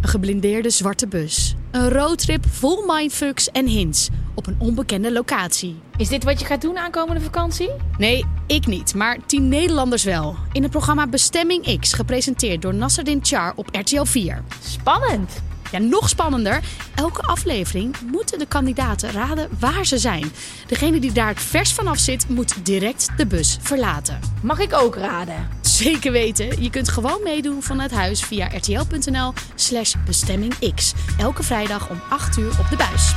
Een geblindeerde zwarte bus. Een roadtrip vol mindfucks en hints op een onbekende locatie. Is dit wat je gaat doen aankomende vakantie? Nee, ik niet, maar tien Nederlanders wel. In het programma Bestemming X, gepresenteerd door Nasserdin Char op RTL 4. Spannend. Ja, nog spannender. Elke aflevering moeten de kandidaten raden waar ze zijn. Degene die daar het vers vanaf zit, moet direct de bus verlaten. Mag ik ook raden? Zeker weten, je kunt gewoon meedoen vanuit huis via rtl.nl slash bestemmingx. Elke vrijdag om 8 uur op de buis.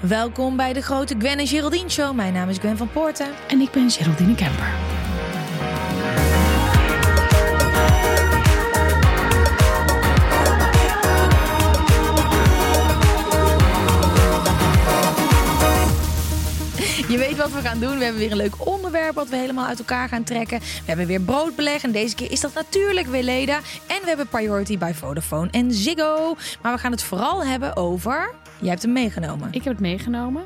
Welkom bij de grote Gwen en Geraldine Show. Mijn naam is Gwen van Poorten. En ik ben Geraldine Kemper. Je weet wat we gaan doen. We hebben weer een leuk onderwerp wat we helemaal uit elkaar gaan trekken. We hebben weer broodbeleg en deze keer is dat natuurlijk weer Leda. En we hebben Priority bij Vodafone en Ziggo. Maar we gaan het vooral hebben over... Jij hebt hem meegenomen. Ik heb het meegenomen.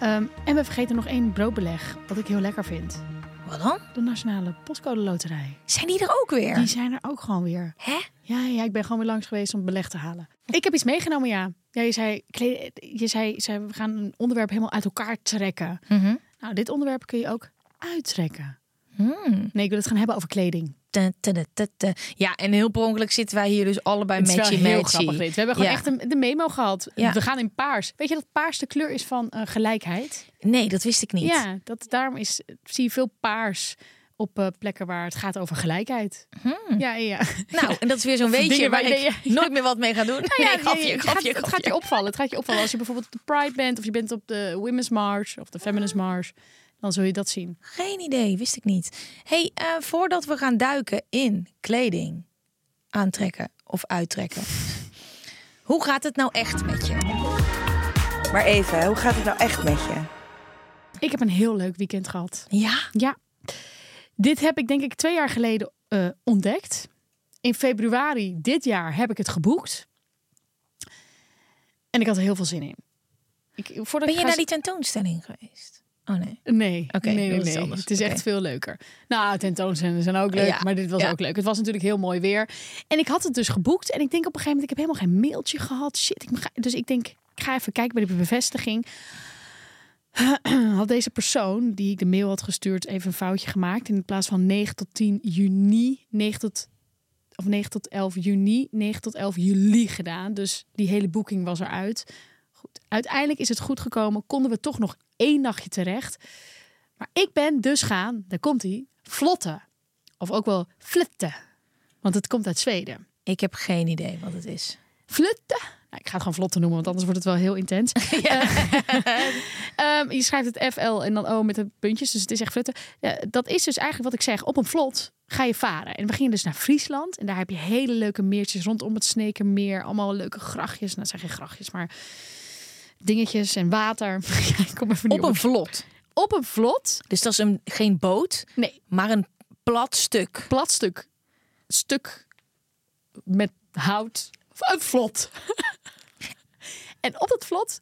Ehm, en we vergeten nog één broodbeleg, wat ik heel lekker vind. Wat dan? De Nationale Postcode Loterij. Zijn die er ook weer? Die zijn er ook gewoon weer. Hè? Ja, ja, ik ben gewoon weer langs geweest om beleg te halen. Ik heb iets meegenomen, ja. ja je zei, kle- je zei, zei, we gaan een onderwerp helemaal uit elkaar trekken. Mhm. Nou, dit onderwerp kun je ook uittrekken. Hmm. Nee, ik wil het gaan hebben over kleding. Ta, ta, ta, ta, ta. Ja, en heel per ongeluk zitten wij hier dus allebei Het is wel matchy heel matchy. grappig dit. We hebben gewoon Ja. echt een, de memo gehad. Ja. We gaan in paars. Weet je dat paars de kleur is van eh, gelijkheid? Nee, dat wist ik niet. Ja, dat, daarom is, zie je veel paars op eh, plekken waar het gaat over gelijkheid. Hmm. Ja, ja. Nou, en dat is weer zo'n weetje Dingen waar waar ik je- nooit meer wat mee ga doen. Nou ja, nee, grapje, je- je grapje, gaat- Het grapje. gaat je opvallen. Het gaat je opvallen als je bijvoorbeeld op de Pride bent of je bent op de Women's March of de Feminist March. Dan zul je dat zien. Geen idee, wist ik niet. hey, eh, voordat we gaan duiken in kleding, aantrekken of uittrekken. Hoe gaat het nou echt met je? Maar even, hoe gaat het nou echt met je? Ik heb een heel leuk weekend gehad. Ja, Ja, dit heb ik denk ik twee jaar geleden eh, ontdekt. In februari dit jaar heb ik het geboekt. En ik had er heel veel zin in. Ik, voordat ben ik je ga- naar die tentoonstelling geweest? Oh nee. Nee, Oké, nee, nee, dat is nee. anders. het is Oké. echt veel leuker. Nou, tentoonstellingen zijn ook leuk, Ja, maar dit was ja. ook leuk. Het was natuurlijk heel mooi weer. En ik had het dus geboekt en ik denk op een gegeven moment, ik heb helemaal geen mailtje gehad. Shit, ik ga, dus ik denk, ik ga even kijken bij de bevestiging. Had deze persoon die ik de mail had gestuurd even een foutje gemaakt. In plaats van 9 tot 10 juni, 9 tot, of 9 tot 11 juni, 9 tot 11 juli gedaan. Dus die hele boeking was eruit. Goed, uiteindelijk is het goed gekomen. Konden we toch nog één nachtje terecht. Maar ik ben dus gaan, daar komt hij, vlotten. Of ook wel flutten. Want het komt uit Zweden. Ik heb geen idee wat het is. Flutten. Nou, ik ga het gewoon vlotten noemen, want anders wordt het wel heel intens. Eh, ehm, je schrijft het FL en dan O met de puntjes, dus het is echt flutten. Ja, dat is dus eigenlijk wat ik zeg. Op een vlot ga je varen. En we gingen dus naar Friesland. En daar heb je hele leuke meertjes rondom het Snekermeer. Allemaal leuke grachtjes. Nou, het zijn geen grachtjes, maar dingetjes en water. Ja, ik kom even niet Op een vlot. op een vlot. Dus dat is een, geen boot, Nee, maar een plat stuk. plat stuk. Stuk met hout. Een vlot. en op dat vlot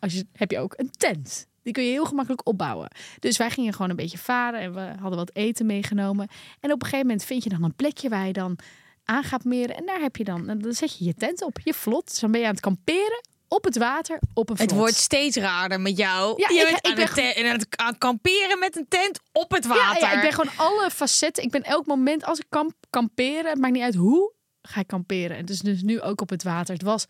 als je, heb je ook een tent. Die kun je heel gemakkelijk opbouwen. Dus wij gingen gewoon een beetje varen en we hadden wat eten meegenomen. En op een gegeven moment vind je dan een plekje waar je dan aan gaat meren. En daar heb je dan, en dan zet je je tent op, je vlot. Dus dan ben je aan het kamperen op het water, op een vlot. Het wordt steeds raarder met jou. Ja, je ik- bent ik aan, ben het te- aan het aan het kamperen met een tent op het Ja, water. Ja, ik ben gewoon alle facetten. Ik ben elk moment als ik kamp, kamperen, het maakt niet uit hoe, ga ik kamperen. En dus, dus nu ook op het water. Het was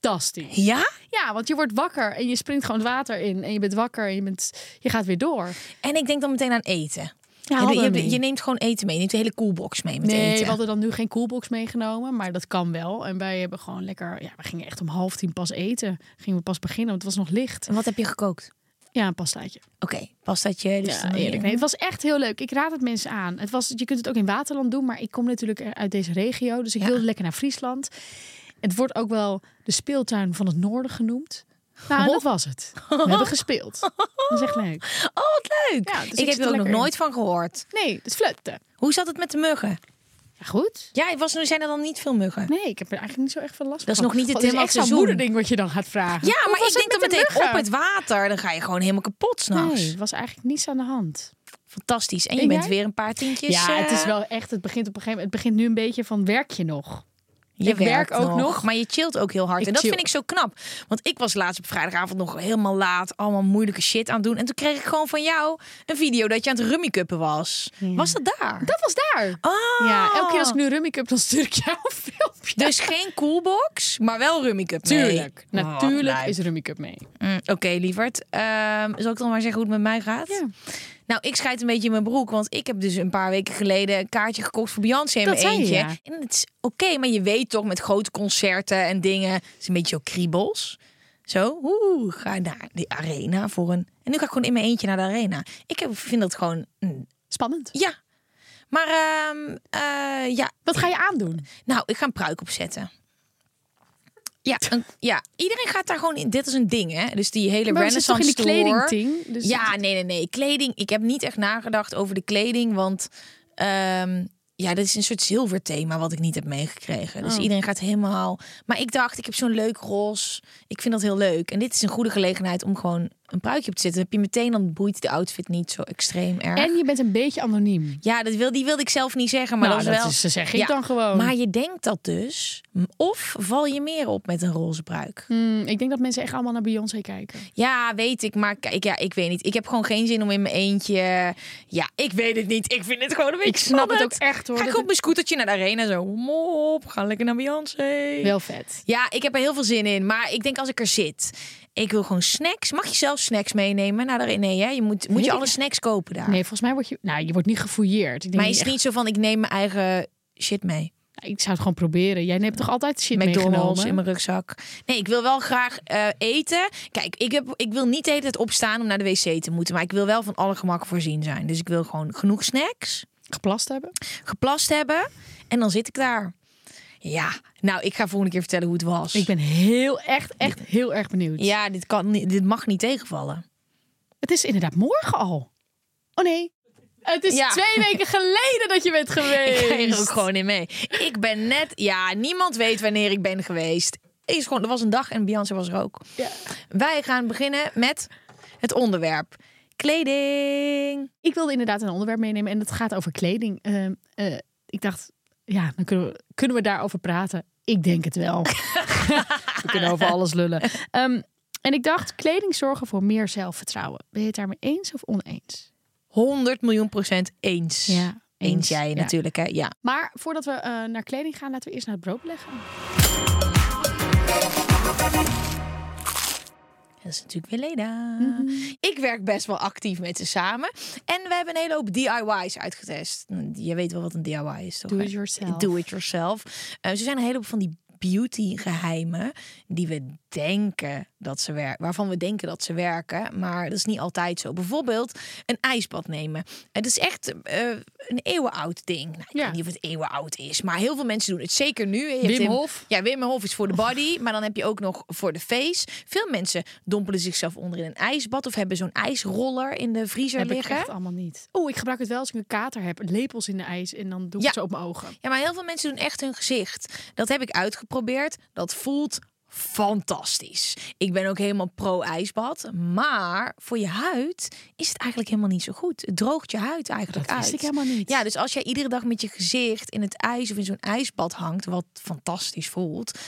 fantastisch. Ja? Ja, want je wordt wakker en je springt gewoon het water in. En je bent wakker en je, bent, je gaat weer door. En ik denk dan meteen aan eten. Ja, je, hadden we je- mee. je neemt gewoon eten mee. Je neemt de hele koelbox mee met Nee, we eten. hadden dan nu geen coolbox meegenomen, maar dat kan wel. En wij hebben gewoon lekker, ja, we gingen echt om half tien pas eten. Gingen we pas beginnen, want het was nog licht. En wat heb je gekookt? Ja, een pastaatje. Oké, pas dat je. Dus Ja, dan- eerlijk. Nee, het was echt heel leuk. Ik raad het mensen aan. Het was, je kunt het ook in Waterland doen, maar ik kom natuurlijk uit deze regio. Dus ik wilde lekker naar Friesland. Het wordt ook wel de speeltuin van het noorden genoemd. Nou, en dat was het. We hebben gespeeld. Dat is echt leuk. Oh, wat leuk! Ja, dus ik ik heb zit er er ook nog lekker in. nooit van gehoord. Nee, het is flutten. Hoe zat het met de muggen? Ja, goed. Ja, was, nu zijn er dan niet veel muggen. Nee, ik heb er eigenlijk niet zo echt veel last van. Dat is nog niet het Want is helemaal echt zo'n seizoen. moederding wat je dan gaat vragen. Ja, Hoe maar was ik denk het dan met de meteen muggen? op het water. Dan ga je gewoon helemaal kapot s'nachts. Nee, er was eigenlijk niets aan de hand. Fantastisch. En je En bent jij? weer een paar tientjes. ja, het eh, is wel echt, het begint op een gegeven moment, het begint nu een beetje van werk je nog? Je Ik werk werkt ook nog. maar je chillt ook heel hard. Ik en dat chill. vind ik zo knap. Want ik was laatst op vrijdagavond nog helemaal laat allemaal moeilijke shit aan het doen. En toen kreeg ik gewoon van jou een video dat je aan het rummikuppen was. Was dat daar? Dat was daar. Ah. Ja, elke keer als ik nu rummy cup, dan stuur ik jou een filmpje. Dus geen coolbox, maar wel rummikup mee. Tuurlijk, Oh, wat natuurlijk lijp. is rummy cup mee. Mm, Oké, lieverd. Ehm, zal ik dan maar zeggen hoe het met mij gaat? Ja. Nou, ik scheid een beetje in mijn broek. Want ik heb dus een paar weken geleden een kaartje gekocht voor Beyoncé in Dat mijn zei je, eentje. ja. En het is oké, maar je weet toch met grote concerten en dingen. Het is een beetje zo kriebels. Zo, oeh, ga naar de arena voor een... En nu ga ik gewoon in mijn eentje naar de arena. Ik heb, vind dat gewoon... mm, Spannend. ja. Maar ehm, eh, ja, Wat ga je aandoen? nou, ik ga een pruik opzetten. Ja, een- ja, iedereen gaat daar gewoon in. Dit is een ding, hè? Dus die hele Maar we zitten toch in renaissance die tour. kledingting? Dus ja, nee, nee, nee. Kleding. Ik heb niet echt nagedacht over de kleding, want ehm, ja, dat is een soort zilverthema wat ik niet heb meegekregen. Oh. Dus iedereen gaat helemaal. Maar ik dacht, ik heb zo'n leuk roze. Ik vind dat heel leuk. En dit is een goede gelegenheid om gewoon een pruikje op te zetten. Dan heb je meteen dan boeit de outfit niet zo extreem erg. En je bent een beetje anoniem. Ja, dat wil, die wilde ik zelf niet zeggen, maar Nou, dat is dat wel. is- dat zeg ik dan gewoon. Maar je denkt dat dus. Of val je meer op met een roze pruik? Hmm, ik denk dat mensen echt allemaal naar Beyoncé kijken. Ja, weet ik, maar kijk, ja, ik weet niet. Ik heb gewoon geen zin om in mijn eentje. Ja, ik weet het niet. Ik vind het gewoon een beetje. Ik snap het spannend. ook echt, hoor. Ga ik Dat op mijn scootertje naar de arena zo. Mop, ga lekker naar Beyoncé. Wel vet. Ja, ik heb er heel veel zin in. Maar ik denk als ik er zit, ik wil gewoon snacks. Mag je zelf snacks meenemen naar de arena? Nee, hè? Je moet, moet je alle snacks kopen daar. Nee, volgens mij word je... Nou, je wordt niet gefouilleerd. Ik, denk maar is het echt- niet zo van ik neem mijn eigen shit mee. Nou, ik zou het gewoon proberen. Jij neemt toch altijd shit McDonald's meegenomen? in mijn rugzak. Nee, ik wil wel graag eh, eten. Kijk, ik, heb, ik wil niet de hele tijd opstaan om naar de wc te moeten. Maar ik wil wel van alle gemakken voorzien zijn. Dus ik wil gewoon genoeg snacks, Geplast hebben? geplast hebben. En dan zit ik daar. Ja, nou, ik ga volgende keer vertellen hoe het was. Ik ben heel, echt, echt heel erg benieuwd. Ja, dit, kan, niet- dit mag niet tegenvallen. Het is inderdaad morgen al. Oh nee. Het is Ja. twee weken geleden dat je bent Ik geweest. ga hier ook gewoon in mee. Ik ben net, ja, niemand weet wanneer ik ben geweest. Is gewoon, er was een dag en Beyoncé was er ook. Ja. Wij gaan beginnen met het onderwerp. Kleding. Ik wilde inderdaad een onderwerp meenemen en dat gaat over kleding. Ehm, eh, ik dacht, ja, dan kunnen we, kunnen we daarover praten. Ik denk het wel. we kunnen over alles lullen. Ehm, en ik dacht, kleding zorgen voor meer zelfvertrouwen. Ben je het daarmee eens of oneens? 100 miljoen procent eens. Ja, eens. eens, jij ja. natuurlijk, hè? Ja. Maar voordat we eh, naar kleding gaan, laten we eerst naar het brood leggen. Dat is natuurlijk weer Leda. Ik werk best wel actief met ze samen. En we hebben een hele hoop DIY's uitgetest. Je weet wel wat een DIY is, toch? Do hè? it yourself. Do it yourself. Eh, ze zijn een hele hoop van die beauty geheimen die we denken dat ze werken, waarvan we denken dat ze werken, maar dat is niet altijd zo. Bijvoorbeeld een ijsbad nemen. Het is echt eh, een eeuwenoud ding. Nou, ik Ja. weet niet of het eeuwenoud is, maar heel veel mensen doen het. Zeker nu. Je hebt Wim in- Hof. Ja, Wim Hof is voor de body, maar dan heb je ook nog voor de face. Veel mensen dompelen zichzelf onder in een ijsbad of hebben zo'n ijsroller in de vriezer Heb ik liggen. echt allemaal niet. Oeh, ik gebruik het wel als ik een kater heb. Lepels in de ijs en dan doe ik Ja. het zo op mijn ogen. Ja, maar heel veel mensen doen echt hun gezicht. Dat heb ik uitgeprobeerd. Dat voelt fantastisch. Ik ben ook helemaal pro-ijsbad. Maar voor je huid is het eigenlijk helemaal niet zo goed. Het droogt je huid eigenlijk Dat uit. wist ik helemaal niet. Ja, dus als jij iedere dag met je gezicht in het ijs of in zo'n ijsbad hangt... wat fantastisch voelt,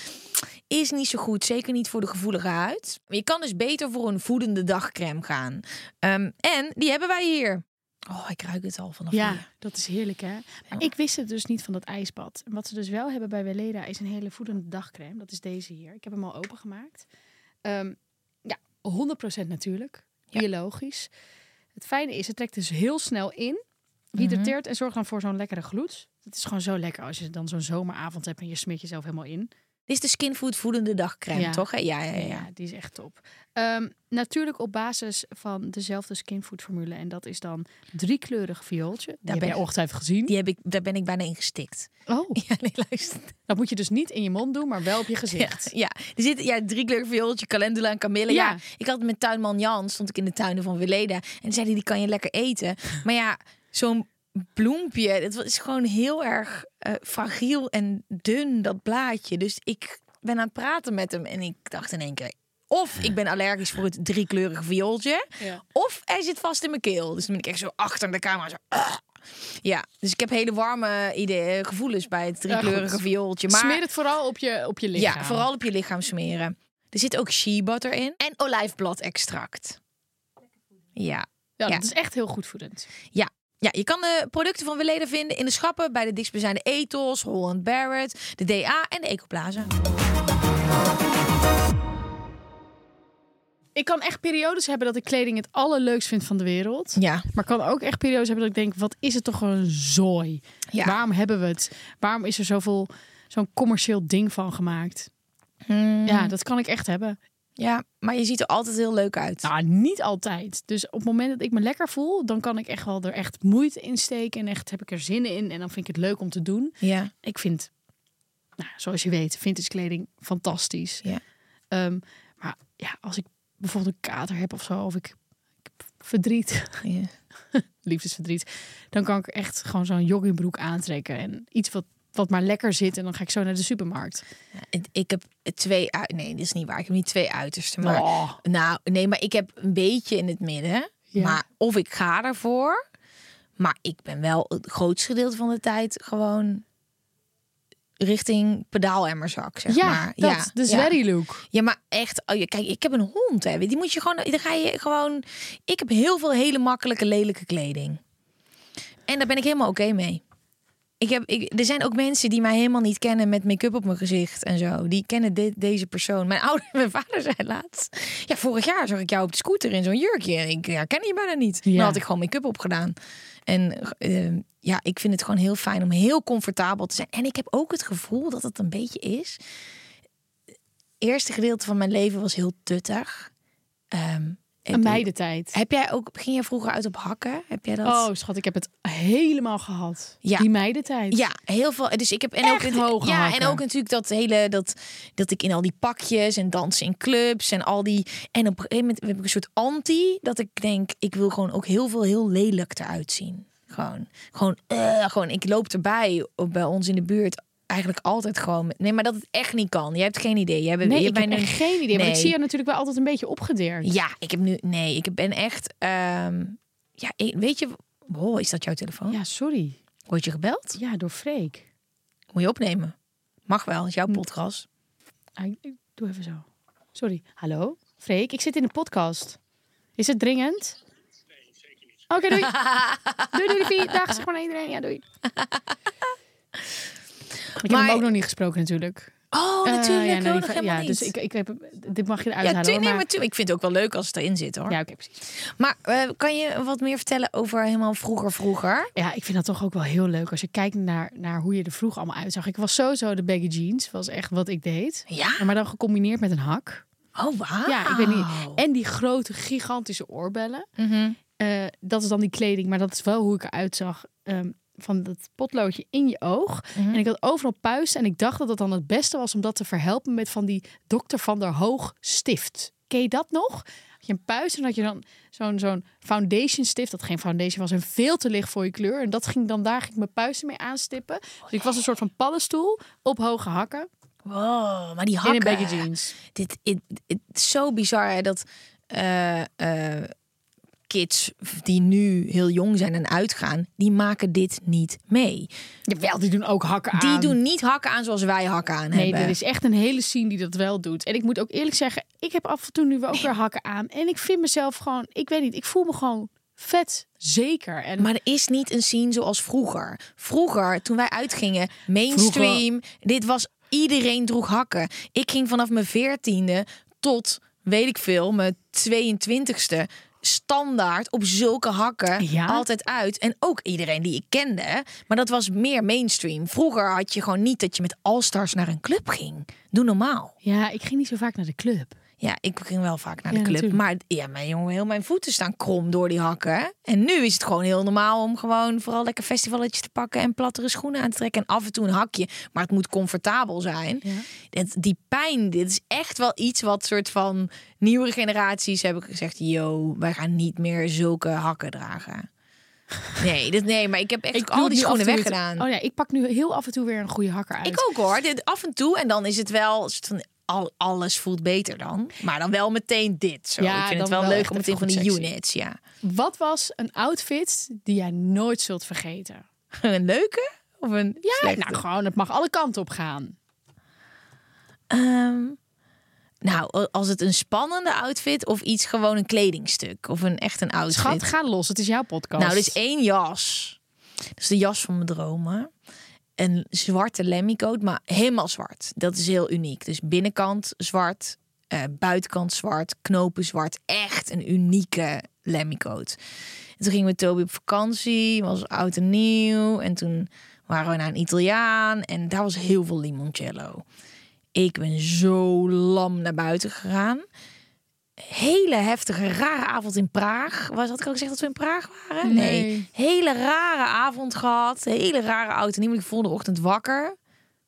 is niet zo goed. Zeker niet voor de gevoelige huid. Je kan dus beter voor een voedende dagcreme gaan. Ehm, en die hebben wij hier. Oh, ik ruik het al vanaf Ja, hier. dat is heerlijk hè. Maar ik wist het dus niet van dat ijsbad. En wat ze dus wel hebben bij Weleda is een hele voedende dagcreme. Dat is deze hier. Ik heb hem al opengemaakt. Ehm ja, 100% natuurlijk. Biologisch. Het fijne is, het trekt dus heel snel in. Hydrateert Mhm. en zorgt dan voor zo'n lekkere gloed. Het is gewoon zo lekker als je dan zo'n zomeravond hebt en je smeert jezelf helemaal in. Dit is de skinfood voedende dagcrème, Ja. toch? hè? Ja, ja, ja. Ja, die is echt top. Ehm, natuurlijk op basis van dezelfde skinfood formule. En dat is dan driekleurig viooltje. Die heb ben jij ik- ongetwijfeld gezien. Die heb ik, daar ben ik bijna in gestikt. Oh, Ja, nee, luister. dat moet je dus niet in je mond doen, maar wel op je Ja, gezicht. ja. er zit ja, drie kleuren viooltje, calendula en kamille. Ja. Ja. ik had met tuinman Jan, stond ik in de tuinen van Willeda. En die zei hij, die kan je lekker eten. Maar ja, zo'n bloempje, dat is gewoon heel erg eh, fragiel en dun, dat blaadje. Dus ik ben aan het praten met hem en ik dacht in één keer... Of ik ben allergisch voor het driekleurige viooltje. Ja. Of hij zit vast in mijn keel. Dus dan ben ik echt zo achter de camera. Zo, ah. Ja, dus ik heb hele warme ideeën, gevoelens bij het driekleurige goed. viooltje. Maar Smeer het vooral op je, op je lichaam. ja, vooral op je lichaam smeren. Er zit ook shea butter in en olijfbladextract. Ja. Ja, ja. dat is echt heel goed voedend. Ja. Ja, je kan de producten van Weleda vinden in de schappen bij de dichtstbijzijnde Ethos, Holland Barrett, de DA en de Ecoplaza. Ik kan echt periodes hebben dat ik kleding het allerleukst vind van de wereld. Ja. Maar ik kan ook echt periodes hebben dat ik denk, wat is het toch een zooi? Ja. Waarom hebben we het? Waarom is er zoveel, zo'n commercieel ding van gemaakt? Mm. Ja, dat kan ik echt hebben. Ja, maar je ziet er altijd heel leuk uit. Nou, niet altijd. Dus op het moment dat ik me lekker voel, dan kan ik echt wel er echt moeite in steken. En echt heb ik er zin in. En dan vind ik het leuk om te doen. Ja. Ik vind, nou, zoals je weet, vintage kleding fantastisch. Ja. Ehm, maar ja, als ik bijvoorbeeld een kater heb of zo, of ik, ik heb verdriet, ja. liefdesverdriet, dan kan ik echt gewoon zo'n joggingbroek aantrekken. En iets wat, wat maar lekker zit. En dan ga ik zo naar de supermarkt. Ik- Ik heb twee uit. Nee, dat is niet waar. Ik heb niet twee uitersten. Maar Oh. nou, nee, maar ik heb een beetje in het midden. Ja. Maar of ik ga ervoor. Maar ik ben wel het grootste gedeelte van de tijd gewoon richting pedaalemmerzak. Zeg ja, maar. dat, Dus de zwerry look. Ja, maar echt, oh, je- kijk, ik heb een hond, hè. Die moet je gewoon, dan ga je gewoon... Ik heb heel veel hele makkelijke, lelijke kleding. En daar ben ik helemaal oké mee. Ik heb, ik, er zijn ook mensen die mij helemaal niet kennen met make-up op mijn gezicht en zo. Die kennen dit- deze persoon. Mijn ouder en mijn vader zei laatst... Ja, vorig jaar zag ik jou op de scooter in zo'n jurkje. En ik herken je bijna niet. Ja. Dan had ik gewoon make-up opgedaan. En eh, ja, ik vind het gewoon heel fijn om heel comfortabel te zijn. En ik heb ook het gevoel dat het een beetje is eerste gedeelte van mijn leven was heel tuttig. Ehm, Een meidentijd. Heb jij ook, ging jij vroeger uit op hakken? Heb jij dat? Oh, schat, ik heb het helemaal gehad. Ja. Die meidentijd. Ja, heel veel. Dus ik heb en ook Echt hoge ja, hakken. en ook natuurlijk dat hele dat dat ik in al die pakjes en dansen in clubs en al die en op een gegeven moment heb ik een soort anti dat ik denk ik wil gewoon ook heel veel heel lelijk eruit zien. Gewoon, gewoon, eh, gewoon. Ik loop erbij op- bij ons in de buurt eigenlijk altijd gewoon. met- Nee, maar dat het echt niet kan. Je hebt geen idee. Jij bent, Nee, je ik heb bent echt een- geen idee. Maar ik Nee. zie je natuurlijk wel altijd een beetje opgedeerd. Ja, ik heb nu. Nee, ik ben echt. ehm, ja, ik- weet je. Wow, is dat jouw telefoon? Ja, sorry. Word je gebeld? Ja, door Freek. Moet je opnemen? Mag wel, het is Hm. jouw podcast. Ah, ik- ik doe even zo. Sorry. Hallo? Freek, ik zit in de podcast. Is het dringend? Nee, zeker niet. Oké, doei. doei, doei, doei. Dag, zeg maar naar iedereen. Ja, doei. Ik heb Maar- hem ook nog niet gesproken natuurlijk. Oh, Eh, natuurlijk. ja, Ja, nou, die- helemaal ja, niet. dus ik, ik heb, dit mag je eruit ja, halen. tuurlijk, hoor, nee, maar- maar tuurlijk. Ik vind het ook wel leuk als het erin zit hoor. Ja, oké, precies. Maar eh, kan je wat meer vertellen over helemaal vroeger, vroeger? Ja, ik vind dat toch ook wel heel leuk als je kijkt naar, naar hoe je er vroeg allemaal uitzag. Ik was sowieso de baggy jeans, was echt wat ik deed. Ja. Maar dan gecombineerd met een hak. Oh, wauw. Ja, ik weet niet. En die grote, gigantische oorbellen. Mhm. Eh, dat is dan die kleding, maar dat is wel hoe ik eruit zag. ehm, van dat potloodje in je oog. En ik had overal puisten. En ik dacht dat dat dan het beste was om dat te verhelpen met van die dokter van der Hoog stift. Ken je dat nog? Had je een puist en had je dan zo'n zo'n foundation stift. Dat geen foundation was en veel te licht voor je kleur. En dat ging dan daar ging ik mijn puisten mee aanstippen. Dus ik was een soort van paddenstoel op hoge hakken. Wow, maar die hakken. In een baggy jeans. dit het het is zo bizar hè, dat eh, eh, kids die nu heel jong zijn en uitgaan, die maken dit niet mee. Jawel, die doen ook hakken aan. Die doen niet hakken aan zoals wij hakken aan Nee, hebben. er is echt een hele scene die dat wel doet. En ik moet ook eerlijk zeggen, ik heb af en toe nu ook weer hakken aan. En ik vind mezelf gewoon, ik weet niet, ik voel me gewoon vet zeker. En Maar er is niet een scene zoals vroeger. Vroeger, toen wij uitgingen, mainstream, dit was iedereen droeg hakken. Ik ging vanaf mijn veertiende tot, weet ik veel, mijn 22e standaard op zulke hakken Ja. altijd uit. En ook iedereen die ik kende. hè. Maar dat was meer mainstream. Vroeger had je gewoon niet dat je met All-Stars naar een club ging. Doe normaal. Ja, ik ging niet zo vaak naar de club. Ja, ik ging wel vaak naar de Ja, club. natuurlijk. Maar ja, mijn jongen, heel mijn voeten staan krom door die hakken. hè. En nu is het gewoon heel normaal om gewoon vooral lekker festivaletjes te pakken en plattere schoenen aan te trekken. En af en toe een hakje. Maar het moet comfortabel zijn. Dit, die pijn, dit is echt wel iets wat soort van nieuwere generaties hebben gezegd. Yo, wij gaan niet meer zulke hakken dragen. Nee, dit, nee maar ik heb echt Ik doe al het die nu af en schoenen toe weer- weggedaan. Oh ja, ik pak nu heel af en toe weer een goede hakker uit. Ik ook hoor. Dit, af en toe. En dan is het wel. een soort van, al, alles voelt beter dan. Maar dan wel meteen dit. Zo. Ja, ik vind het dan wel, wel leuk echt om het in even van die goed sexy. units. Ja. Wat was een outfit die jij nooit zult vergeten? Een leuke? Of een Ja, slechte? nou gewoon, het mag alle kanten op gaan. Ehm, nou, als het een spannende outfit of iets gewoon een kledingstuk. Of een echt een outfit. Schat, ga los. Het is jouw podcast. Nou, dus één jas. Dat is de jas van mijn dromen. Een zwarte lemmycoat, maar helemaal zwart. Dat is heel uniek. Dus binnenkant zwart, eh, buitenkant zwart, knopen zwart. Echt een unieke lemmycoat. En toen gingen we met Toby op vakantie, was oud en nieuw. En toen waren we naar een Italiaan en daar was heel veel limoncello. Ik ben zo lam naar buiten gegaan. Hele heftige, rare avond in Praag. Was had ik al gezegd dat we in Praag waren? Nee. Hele rare avond gehad. Hele rare oud en nieuw. Ik voelde de ochtend wakker.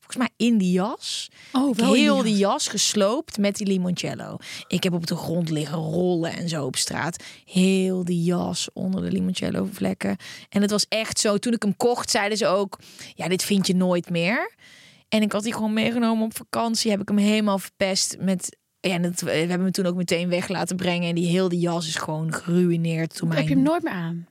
Volgens mij in die jas. Oh, Ik wel in die heel jas. die jas gesloopt met die limoncello. Ik heb op de grond liggen rollen en zo op straat. Heel die jas onder de limoncello vlekken. En het was echt zo. Toen ik hem kocht, zeiden ze ook: Ja, dit vind je nooit meer. En ik had die gewoon meegenomen op vakantie. Heb ik hem helemaal verpest met. Ja, en dat, we hebben hem toen ook meteen weg laten brengen. En die heel die jas is gewoon geruineerd. Toen Heb je hem nooit meer aan?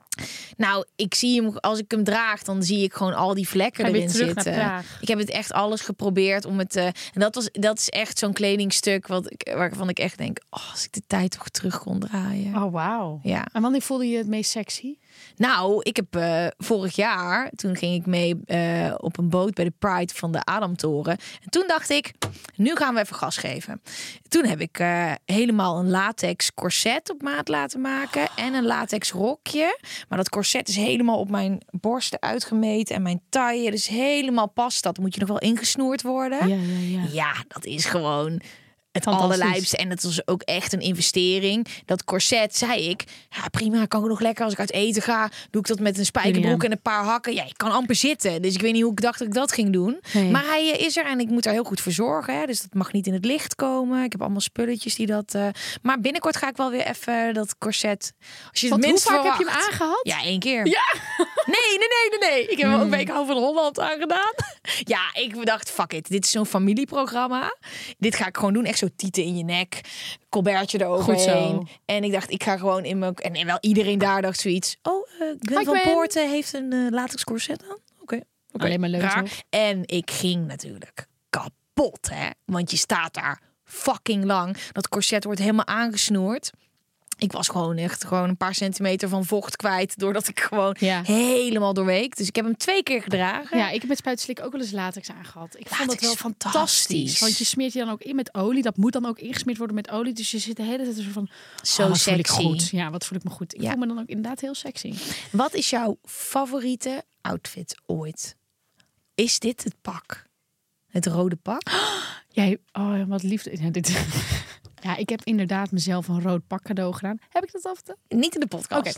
nou, ik zie hem als ik hem draag, dan zie ik gewoon al die vlekken Ga je weer erin terug naar zitten. Praag. Ik heb het echt alles geprobeerd om het. eh, en dat, was, dat is echt zo'n kledingstuk wat ik, waarvan ik echt denk: oh, als ik de tijd toch terug kon draaien. Oh, wauw. Ja. En wanneer voelde je het meest sexy? Nou, ik heb eh, vorig jaar, toen ging ik mee eh, op een boot bij de Pride van de Adamtoren. En toen dacht ik, nu gaan we even gas geven. Toen heb ik eh, helemaal een latex corset op maat laten maken en een latex rokje. Maar dat corset is helemaal op mijn borsten uitgemeten en mijn taille. Dus helemaal past dat. Moet je nog wel ingesnoerd worden. ja, Ja, dat is gewoon het Fantastisch. allerlijpste. En dat was ook echt een investering. Dat corset, zei ik, ja, prima, kan ik nog lekker als ik uit eten ga. Doe ik dat met een spijkerbroek Julian. en een paar hakken. Ja, ik kan amper zitten. Dus ik weet niet hoe ik dacht dat ik dat ging doen. Nee. Maar hij eh, is er en ik moet daar heel goed voor zorgen. Hè. Dus dat mag niet in het licht komen. Ik heb allemaal spulletjes die dat... eh, Maar binnenkort ga ik wel weer even dat corset... Als je Want het hoe minst vaak heb je hem verwacht. aangehad? Ja, één keer. Nee, nee, nee, nee, nee. Ik heb hem Hmm. ook bij Ik hou van Holland aangedaan. Ja, ik dacht, fuck it. Dit is zo'n familieprogramma. Dit ga ik gewoon doen. Echt zo tieten in je nek. Colbertje eroverheen. Goed zo. En ik dacht, ik ga gewoon in mijn... En, en wel iedereen daar dacht zoiets. Oh, eh Gwen Hi, van Gwen. Poorten heeft een eh, latex corset aan. Oké. oké. Alleen maar leuk, Raar. toch? En ik ging natuurlijk kapot, hè. Want je staat daar fucking lang. Dat corset wordt helemaal aangesnoerd. Ik was gewoon echt gewoon een paar centimeter van vocht kwijt. Doordat ik gewoon Ja. helemaal doorweek. Dus ik heb hem twee keer gedragen. Ja, ik heb met spuitslik ook wel eens latex aangehad. Ik vond Latex dat wel is fantastisch. fantastisch. Want je smeert je dan ook in met olie. Dat moet dan ook ingesmeerd worden met olie. Dus je zit de hele tijd zo van... Zo oh, wat voel ik sexy. goed. Ja, wat voel ik me goed. Ik Ja. voel me dan ook inderdaad heel sexy. Wat is jouw favoriete outfit ooit? Is dit het pak? Het rode pak? Jij, oh, wat liefde. Ja, dit... ja, ik heb inderdaad mezelf een rood pak cadeau gedaan. Heb ik dat al verteld? Niet in de podcast. Oké.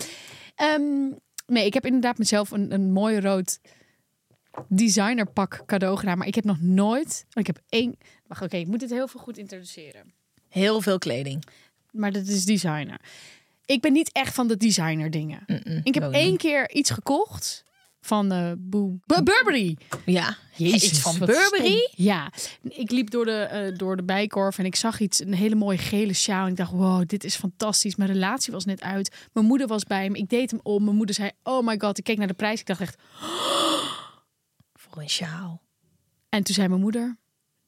Ehm, nee, ik heb inderdaad mezelf een, een mooi rood designerpak cadeau gedaan. Maar ik heb nog nooit... Ik heb één... Wacht, oké, ik moet dit heel veel goed introduceren. Heel veel kleding. maar dat is designer. Ik ben niet echt van de designer dingen. ik ik ook heb één keer iets gekocht van eh Boe- Bu- Burberry. Ja. Iets van wat Burberry? stom. Ja. Ik liep door de, eh, door de bijkorf en ik zag iets, een hele mooie gele sjaal. En ik dacht, wow, dit is fantastisch. Mijn relatie was net uit. Mijn moeder was bij hem. Ik deed hem om. Mijn moeder zei, oh my god. Ik keek naar de prijs. Ik dacht echt... Voor een sjaal. En toen zei mijn moeder,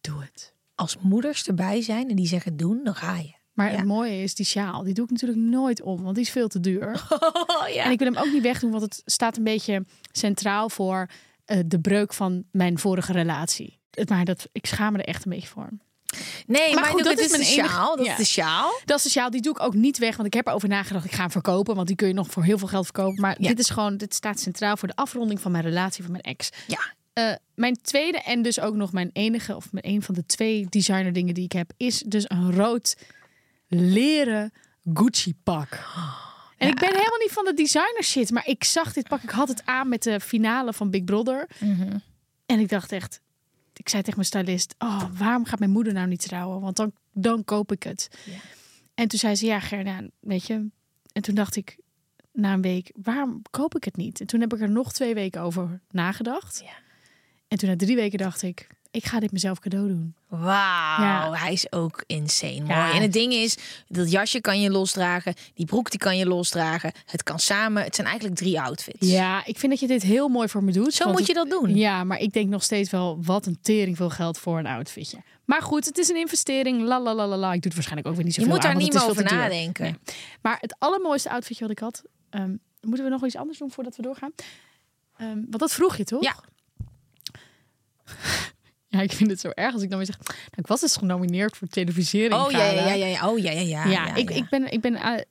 doe het. Als moeders erbij zijn en die zeggen doen, dan ga je. Maar Ja. het mooie is, die sjaal, die doe ik natuurlijk nooit om. Want die is veel te duur. Oh, ja. En ik wil hem ook niet wegdoen, want het staat een beetje centraal voor eh, de breuk van mijn vorige relatie. Het- Maar dat, ik schaam me er echt een beetje voor. Nee, maar, goed, goed, dat dat is is een mijn enige- sjaal. Dat ja. is de sjaal. Dat is de sjaal, die doe ik ook niet weg. Want ik heb erover nagedacht, ik ga hem verkopen. Want die kun je nog voor heel veel geld verkopen. Maar Ja. dit is gewoon, dit staat centraal voor de afronding van mijn relatie van mijn ex. Ja. Eh, mijn tweede en dus ook nog mijn enige, of mijn een van de twee designer dingen die ik heb, is dus een rood leren Gucci pak. En ik ben helemaal niet van de designer shit, maar ik zag dit pak. Ik had het aan met de finale van Big Brother. En ik dacht echt, ik zei tegen mijn stylist, oh, waarom gaat mijn moeder nou niet trouwen? Want dan, dan koop ik het. En toen zei ze, ja Gerda, weet je. En toen dacht ik na een week, waarom koop ik het niet? En toen heb ik er nog twee weken over nagedacht. Ja. En toen na drie weken dacht ik, ik ga dit mezelf cadeau doen. Wauw, Ja. hij is ook insane mooi. Ja. En het ding is, dat jasje kan je losdragen, die broek die kan je losdragen. Het kan samen, het zijn eigenlijk drie outfits. Ja, ik vind dat je dit heel mooi voor me doet. Zo want moet je dat doen. Ja, maar ik denk nog steeds wel wat een tering veel geld voor een outfitje. Maar goed, het is een investering. La la la la la. Ik doe het waarschijnlijk ook weer niet Je zoveel moet daar aan, want niet het meer is over veel te duur. nadenken. Maar het allermooiste outfitje wat ik had. ehm, moeten we nog wel iets anders doen voordat we doorgaan? Ehm, want dat vroeg je toch? Ja. Ja, ik vind het zo erg als ik dan weer zeg. Nou, ik was dus genomineerd voor televisering. Oh ja, ja, ja, ja, ja. Oh ja, ja, ja. Ja, ik, ik ben, ik ben, eh,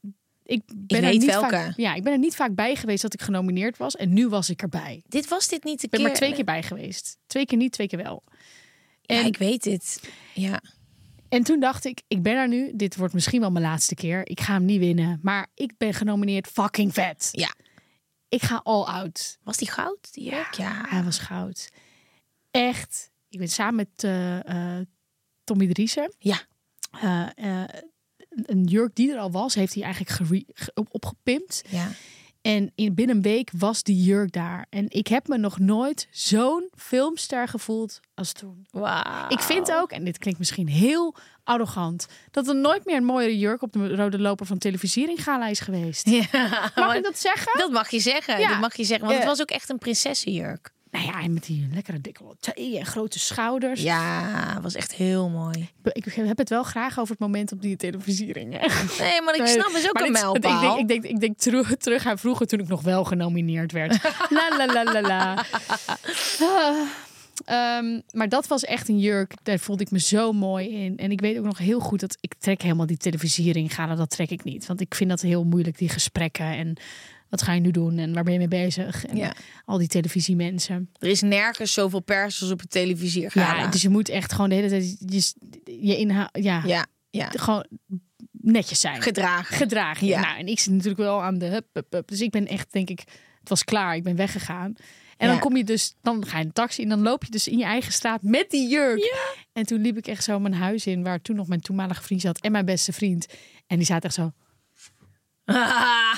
ik ben er weet niet welke. Vaak, ja, ik ben er niet vaak bij geweest dat ik genomineerd was. En nu was ik erbij. Ik Dit was dit niet de ben keer. maar twee keer bij geweest. Twee keer niet, twee keer wel. Ja, en- ik weet dit. Ja. En toen dacht ik, ik ben er nu. Dit wordt misschien wel mijn laatste keer. Ik ga hem niet winnen. Maar ik ben genomineerd fucking vet. ja. Ik ga all out. Was die goud? Die jurk? Ja. Hij was goud. Echt. Ik ben samen met eh, eh, Tommy Driessen. Ja. Eh, eh, een- een jurk die er al was, heeft hij eigenlijk gere- ge- op- opgepimpt. Ja. En in, binnen een week was die jurk daar. En ik heb me nog nooit zo'n filmster gevoeld als toen. Wauw. Ik vind ook, en dit klinkt misschien heel arrogant, dat er nooit meer een mooiere jurk op de rode loper van televisiering gala is geweest. Ja, Mag maar ik dat zeggen? dat mag je zeggen. Ja. Dat mag je zeggen. Want het Eh. was ook echt een prinsessenjurk. Nou ja, en met die lekkere dikke lotee en grote schouders. Ja, was echt heel mooi. Ik heb het wel graag over het moment op die televisiering. hè. Nee, maar ik Nee, snap, het is ook maar een dit- mijlpaal. Ik denk, ik denk, ik denk teru- terug aan vroeger toen ik nog wel genomineerd werd. la la la la la. Ah, ehm, maar dat was echt een jurk. Daar voelde ik me zo mooi in. En ik weet ook nog heel goed dat ik trek helemaal die televisiering gaan. Dat trek ik niet. Want ik vind dat heel moeilijk, die gesprekken. En wat ga je nu doen? En waar ben je mee bezig? En Ja. al die televisiemensen. Er is nergens zoveel pers als op het televisie Ja, dus je moet echt gewoon de hele tijd je, je inhoud... Ja, ja, ja. gewoon netjes zijn Gedragen. gedragen. Ja. Nou, en ik zit natuurlijk wel aan de hup, hup, hup. Dus ik ben echt, denk ik, het was klaar. Ik ben weggegaan. En Ja. dan kom je dus, dan ga je een taxi en dan loop je dus in je eigen straat met die jurk. En toen liep ik echt zo mijn huis in, waar toen nog mijn toenmalige vriend zat en mijn beste vriend. En die zaten echt zo, oh,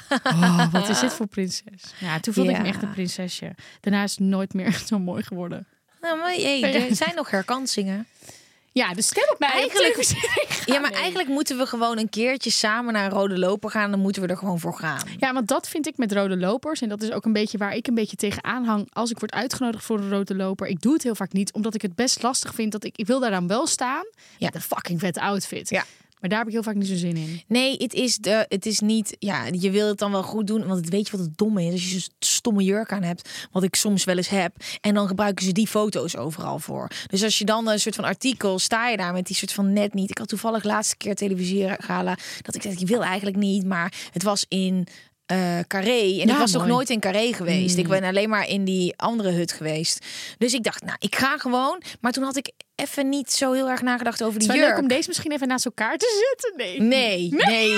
wat is dit voor prinses? Ja, toen voelde ik me Ja. echt een prinsesje. Daarna is het nooit meer zo mooi geworden. nou, maar hey, er zijn nog herkansingen. Ja, dus stem op mij. Eigenlijk- Televisie. Ja, maar eigenlijk moeten we gewoon een keertje samen naar een rode loper gaan. Dan moeten we er gewoon voor gaan. Ja, want dat vind ik met rode lopers. En dat is ook een beetje waar ik een beetje tegenaan hang. Als ik word uitgenodigd voor een rode loper. Ik doe het heel vaak niet. Omdat ik het best lastig vind. Dat ik, ik wil daaraan wel staan. Ja. Met een fucking vette outfit. Ja. Maar daar heb ik heel vaak niet zo zin in. Nee, het is, de, het is niet. Ja, je wil het dan wel goed doen. Want het weet je wat het domme is. Als je zo'n stomme jurk aan hebt. Wat ik soms wel eens heb. En dan gebruiken ze die foto's overal voor. Dus als je dan een soort van artikel. sta je daar met die soort van net niet. Ik had toevallig laatste keer televisiegala. dat ik dacht, ik wil eigenlijk niet. Maar het was in. eh Carré. En Ja, ik was nog mooi. Mm. nooit in Carré geweest. Ik ben alleen maar in die andere hut geweest. Dus ik dacht, nou, ik ga gewoon. Maar toen had ik even niet zo heel erg nagedacht over Het die is wel jurk. leuk om deze misschien even naast elkaar te zetten. Nee. Nee, nee,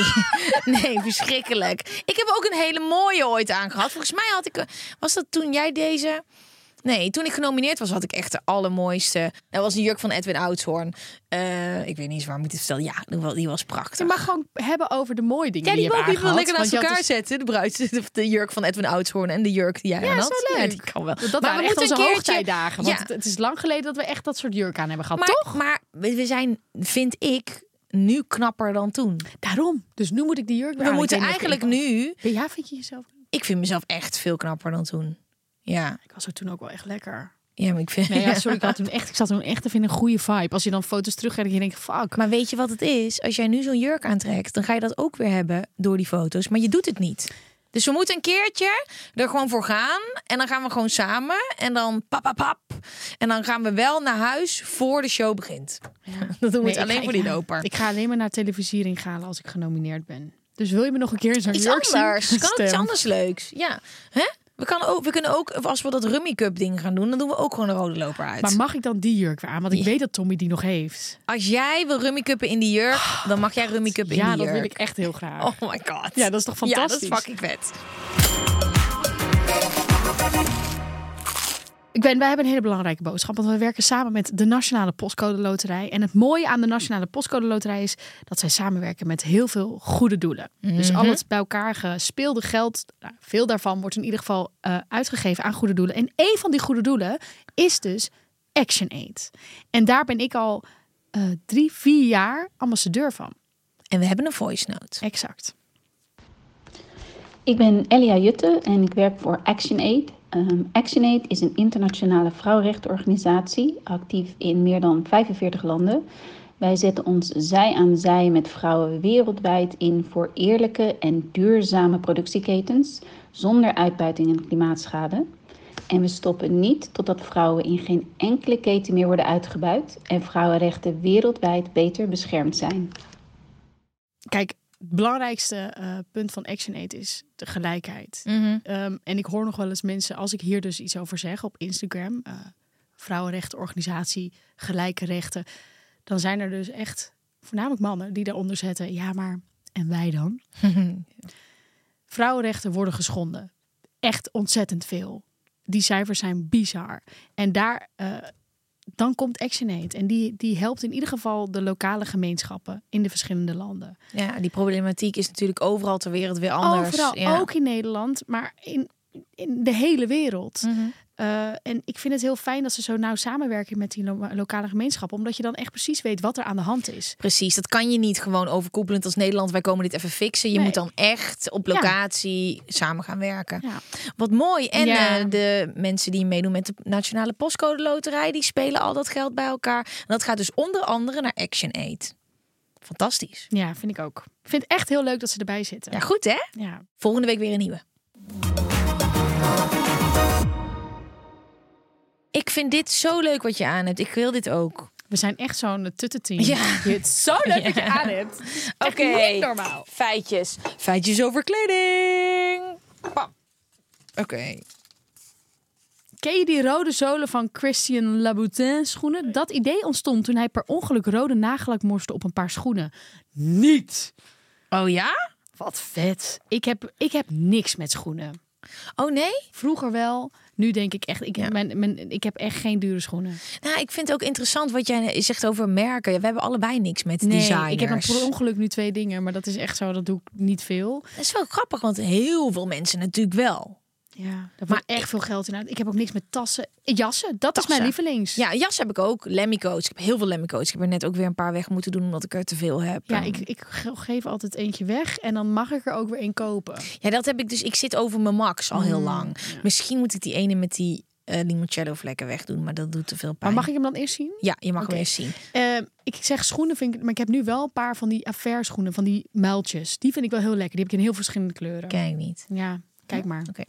nee, verschrikkelijk. Ik heb ook een hele mooie ooit aangehad. Volgens mij had ik, eh, was dat toen jij deze? Nee, toen ik genomineerd was, had ik echt de allermooiste. Dat was een jurk van Edwin Oudshoorn. Eh, ik weet niet eens waar moet ik het vertellen. Ja, die wa- die was prachtig. Je mag gewoon hebben over de mooie dingen. ja, die die je hebt mag ik wel aangehad. Want lekker naast je had elkaar dus- zetten. De, bruid, de, de jurk van Edwin Oudshoorn en de jurk die jij aan is had. wel Ja, leuk. die kan wel. Dat waren echt moeten onze een keertje- hoogtijdagen. Want Ja. het, het is lang geleden dat we echt dat soort jurk aan hebben gehad, maar, toch? Maar we we zijn, vind ik, nu knapper dan toen. Daarom. Dus nu moet ik die jurk weer We aan. Ik moeten weet niet of ik- eigenlijk nu... Ja, vind je jezelf... ik vind mezelf echt veel knapper dan toen. Ja, Ik was er toen ook wel echt lekker. ja maar ik vind. Nee, ja, sorry, ik, had toen echt, ik zat toen echt even in een goede vibe. Als je dan foto's terugkijkt en je denkt, fuck. Maar weet je wat het is? Als jij nu zo'n jurk aantrekt, dan ga je dat ook weer hebben door die foto's. Maar je doet het niet. Dus we moeten een keertje er gewoon voor gaan. En dan gaan we gewoon samen. En dan pap, pap, pap. En dan gaan we wel naar huis voor de show begint. Dan doen we Nee, het alleen ik ga- voor ik- die loper. Ik ga alleen maar naar televisiering halen als ik genomineerd ben. Dus wil je me nog een keer in zo'n iets jurk zien? anders. Kan ook iets Stem. anders leuks. Ja. Hè? We, kan ook, we kunnen ook, als we dat Rummy Cup ding gaan doen, dan doen we ook gewoon een rode loper uit. Maar mag ik dan die jurk weer aan? Want ik weet dat Tommy die nog heeft. als jij wil Rummy Cuppen in die jurk, dan mag jij Rummy Cuppen in ja, die dat jurk. wil ik echt heel graag. Oh my god. Ja, dat is toch fantastisch? Ja, dat is fucking vet. Ik ben, wij hebben een hele belangrijke boodschap, want we werken samen met de Nationale Postcode Loterij. En het mooie aan de Nationale Postcode Loterij is dat zij samenwerken met heel veel goede doelen. Dus al het bij elkaar gespeelde geld, nou, veel daarvan wordt in ieder geval eh, uitgegeven aan goede doelen. En één van die goede doelen is dus Action Aid. En daar ben ik al eh, drie, vier jaar ambassadeur van. En we hebben een voice note. Exact. Ik ben Elia Jutte en ik werk voor ActionAid. Ehm ActionAid is een internationale vrouwenrechtenorganisatie, actief in meer dan 45 landen. Wij zetten ons zij aan zij met vrouwen wereldwijd in voor eerlijke en duurzame productieketens, zonder uitbuiting en klimaatschade. En we stoppen niet totdat vrouwen in geen enkele keten meer worden uitgebuit en vrouwenrechten wereldwijd beter beschermd zijn. Kijk, het belangrijkste eh, punt van Action Aid is de gelijkheid. Ehm, en ik hoor nog wel eens mensen, als ik hier dus iets over zeg op Instagram, eh vrouwenrechtenorganisatie, gelijke rechten, dan zijn er dus echt voornamelijk mannen die daaronder zetten, ja maar, en wij dan? Vrouwenrechten worden geschonden. Echt ontzettend veel. Die cijfers zijn bizar. En daar, eh, dan komt ActionAid. En die, die helpt in ieder geval de lokale gemeenschappen in de verschillende landen. Ja, die problematiek is natuurlijk overal ter wereld weer anders. Overal, ja. ook in Nederland, maar in, in de hele wereld. Eh, en ik vind het heel fijn dat ze zo nauw samenwerken met die lo- lokale gemeenschap. Omdat je dan echt precies weet wat er aan de hand is. Precies, dat kan je niet gewoon overkoepelend als Nederland. Wij komen dit even fixen. Je Nee. moet dan echt op Ja. locatie samen gaan werken. Ja. Wat mooi. En Ja. eh, de mensen die meedoen met de Nationale Postcode Loterij, die spelen al dat geld bij elkaar. En dat gaat dus onder andere naar Action Aid. Fantastisch. ja, vind ik ook. Ik vind het echt heel leuk dat ze erbij zitten. Ja, goed hè? ja. Volgende week weer een nieuwe. Ik vind dit zo leuk wat je aan hebt. Ik wil dit ook. We zijn echt zo'n tuttenteam. Ja. Je het zo leuk dat je aan hebt. Oké. Niet normaal. Feitjes. Feitjes over kleding. Bam. Oké. Ken je die rode zolen van Christian Louboutin schoenen? Dat idee ontstond toen hij per ongeluk rode nagelak morste op een paar schoenen. Niet! Oh ja? Wat vet. Ik heb, ik heb niks met schoenen. Oh nee? Vroeger wel. Nu denk ik echt, ik, Ja. mijn, mijn, ik heb echt geen dure schoenen. Nou, ik vind het ook interessant wat jij zegt over merken. Ja, We hebben allebei niks met designers. ik heb een per ongeluk nu twee dingen, maar dat is echt zo, dat doe ik niet veel. Dat is wel grappig, want heel veel mensen natuurlijk wel. Ja, daar maar echt veel geld in uit. Ik heb ook niks met tassen. Jassen, dat is Tassen. mijn lievelings. Ja, jas heb ik ook. Lemmycoats. Ik heb heel veel lemmycoats. Ik heb er net ook weer een paar weg moeten doen omdat ik er te veel heb. Ja, ik, ik ge- geef altijd eentje weg en dan mag ik er ook weer één kopen. Ja, dat heb ik dus. Ik zit over mijn max al Mm, heel lang. Misschien moet ik die ene met die eh limoncello vlekken wegdoen, maar dat doet te veel Maar pijn. mag ik hem dan eerst zien? Ja, je mag Oké. hem eens zien. Eh, ik zeg schoenen, vind ik, maar ik heb nu wel een paar van die affaire schoenen, van die muiltjes. Die vind ik wel heel lekker. Die heb ik in heel verschillende kleuren. Kijk niet. Ja, kijk maar. Oké.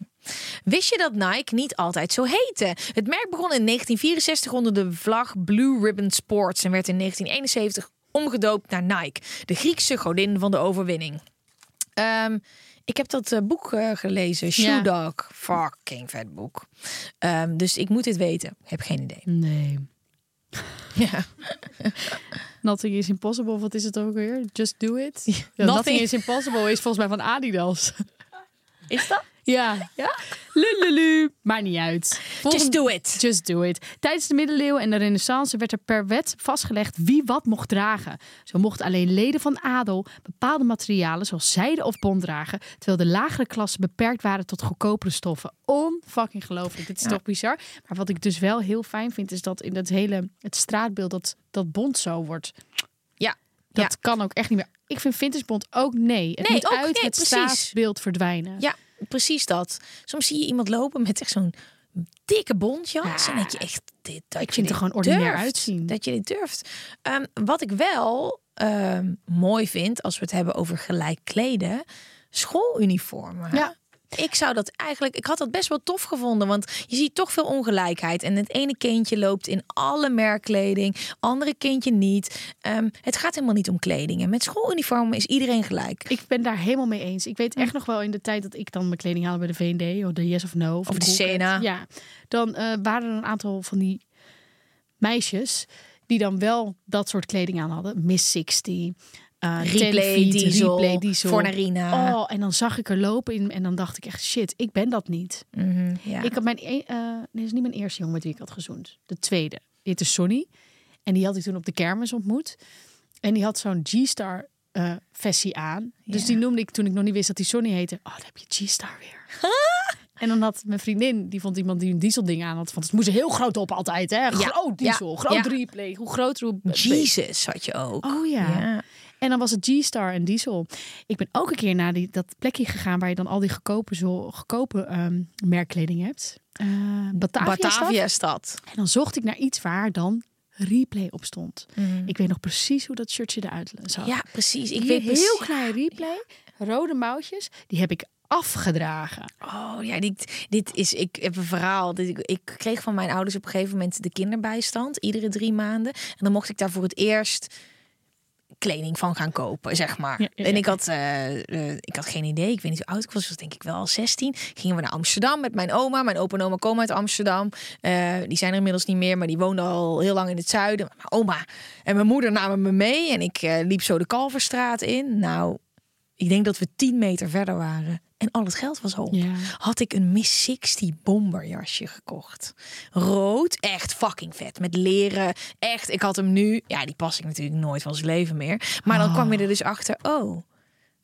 Wist je dat Nike niet altijd zo heette? Het merk begon in 1964 onder de vlag Blue Ribbon Sports en werd in 1971 omgedoopt naar Nike, de Griekse godin van de overwinning. Ehm, ik heb dat eh, boek eh, gelezen, Shoe Ja. Dog. Fucking vet boek. Ehm, dus ik moet dit weten. Heb geen idee. Nee. Ja. Nothing is impossible, of wat is het ook weer? Just do it. Ja, nothing. Nothing is impossible is volgens mij van Adidas. Is dat? ja. ja? Lululu. Maakt niet uit. Just Volgende- do it. Just do it. Tijdens de middeleeuwen en de renaissance werd er per wet vastgelegd wie wat mocht dragen. Zo mochten alleen leden van adel bepaalde materialen zoals zijde of bont dragen, terwijl de lagere klassen beperkt waren tot goedkopere stoffen. Onfucking gelooflijk. Dit is toch bizar? Maar wat ik dus wel heel fijn vind is dat in dat hele het straatbeeld dat dat bont zo wordt Ja. Dat kan ook echt niet meer. Ik vind vintage bond ook nee. Het Nee, moet ook uit nee, het precies. straatbeeld verdwijnen. Ja, precies dat. Soms zie je iemand lopen met echt zo'n dikke bontjas. Ja. En dat je echt dit. Dat Ik je vind dit er gewoon ordinair durft. uitzien. Dat je dit durft. Ehm, wat ik wel ehm, mooi vind als we het hebben over gelijk kleden, schooluniformen. Ja. Ik zou dat eigenlijk, ik had dat best wel tof gevonden, want je ziet toch veel ongelijkheid. En het ene kindje loopt in alle merkkleding, andere kindje niet. Ehm, het gaat helemaal niet om kleding. En met schooluniformen is iedereen gelijk. Ik ben daar helemaal mee eens. Ik weet echt nog wel in de tijd dat ik dan mijn kleding haalde bij de V&D of de Yes of No of, Of de de Coolcat. Sena. Ja, dan eh, waren er een aantal van die meisjes die dan wel dat soort kleding aan hadden. Miss 60, eh Replay, Telefeet, diesel, replay diesel. Fornarina. Oh, en dan zag ik er lopen in en dan dacht ik echt shit, ik ben dat niet. Mhm, ja. Ik had mijn, e- eh nee, dat is niet mijn eerste jongen met wie ik had gezoend. De tweede, die heette Sonny. En die had ik toen op de kermis ontmoet. En die had zo'n G-Star eh vestie aan. Dus Ja. die noemde ik toen ik nog niet wist dat die Sonny heette. Oh, daar heb je G-Star weer. en dan had mijn vriendin, die vond iemand die een dieselding aan had. Van, het moest heel groot op altijd, hè? Groot diesel, Ja. groot Ja. replay. Hoe groot, hoe... Jesus had je ook. Oh ja. En dan was het G-Star en Diesel. Ik ben ook een keer naar die, dat plekje gegaan waar je dan al die goedkope, zo, goedkope ehm, merkkleding hebt. Ah, Eh, Batavia. is dat? Batavia-stad. En dan zocht ik naar iets waar dan replay op stond. Ik weet nog precies hoe dat shirtje eruit zag. Mhm. Ja, precies. Ik Hier weet heel precies- klein replay, rode mouwtjes. Die heb ik afgedragen. Oh ja, dit, dit is. Ik heb een verhaal. Dit, ik, ik kreeg van mijn ouders op een gegeven moment de kinderbijstand. Iedere drie maanden. En dan mocht ik daar voor het eerst kleding van gaan kopen, zeg maar. Ja, ja, ja. En ik had, eh, eh, ik had geen idee. Ik weet niet hoe oud ik was. Ik was denk ik wel 16. Gingen we naar Amsterdam met mijn oma. Mijn opa en oma komen uit Amsterdam. Eh, die zijn er inmiddels niet meer, maar die woonden al heel lang in het zuiden. Maar Mijn oma en mijn moeder namen me mee. En ik eh, liep zo de Kalverstraat in. Nou, ik denk dat we 10 meter verder waren. En al het geld was op. Ja. Had ik een Miss 60 bomberjasje gekocht. Rood, echt fucking vet. Met leren, echt. Ik had hem nu. Ja, die pas ik natuurlijk nooit van zijn leven meer. Maar dan kwam je er dus achter. Oh,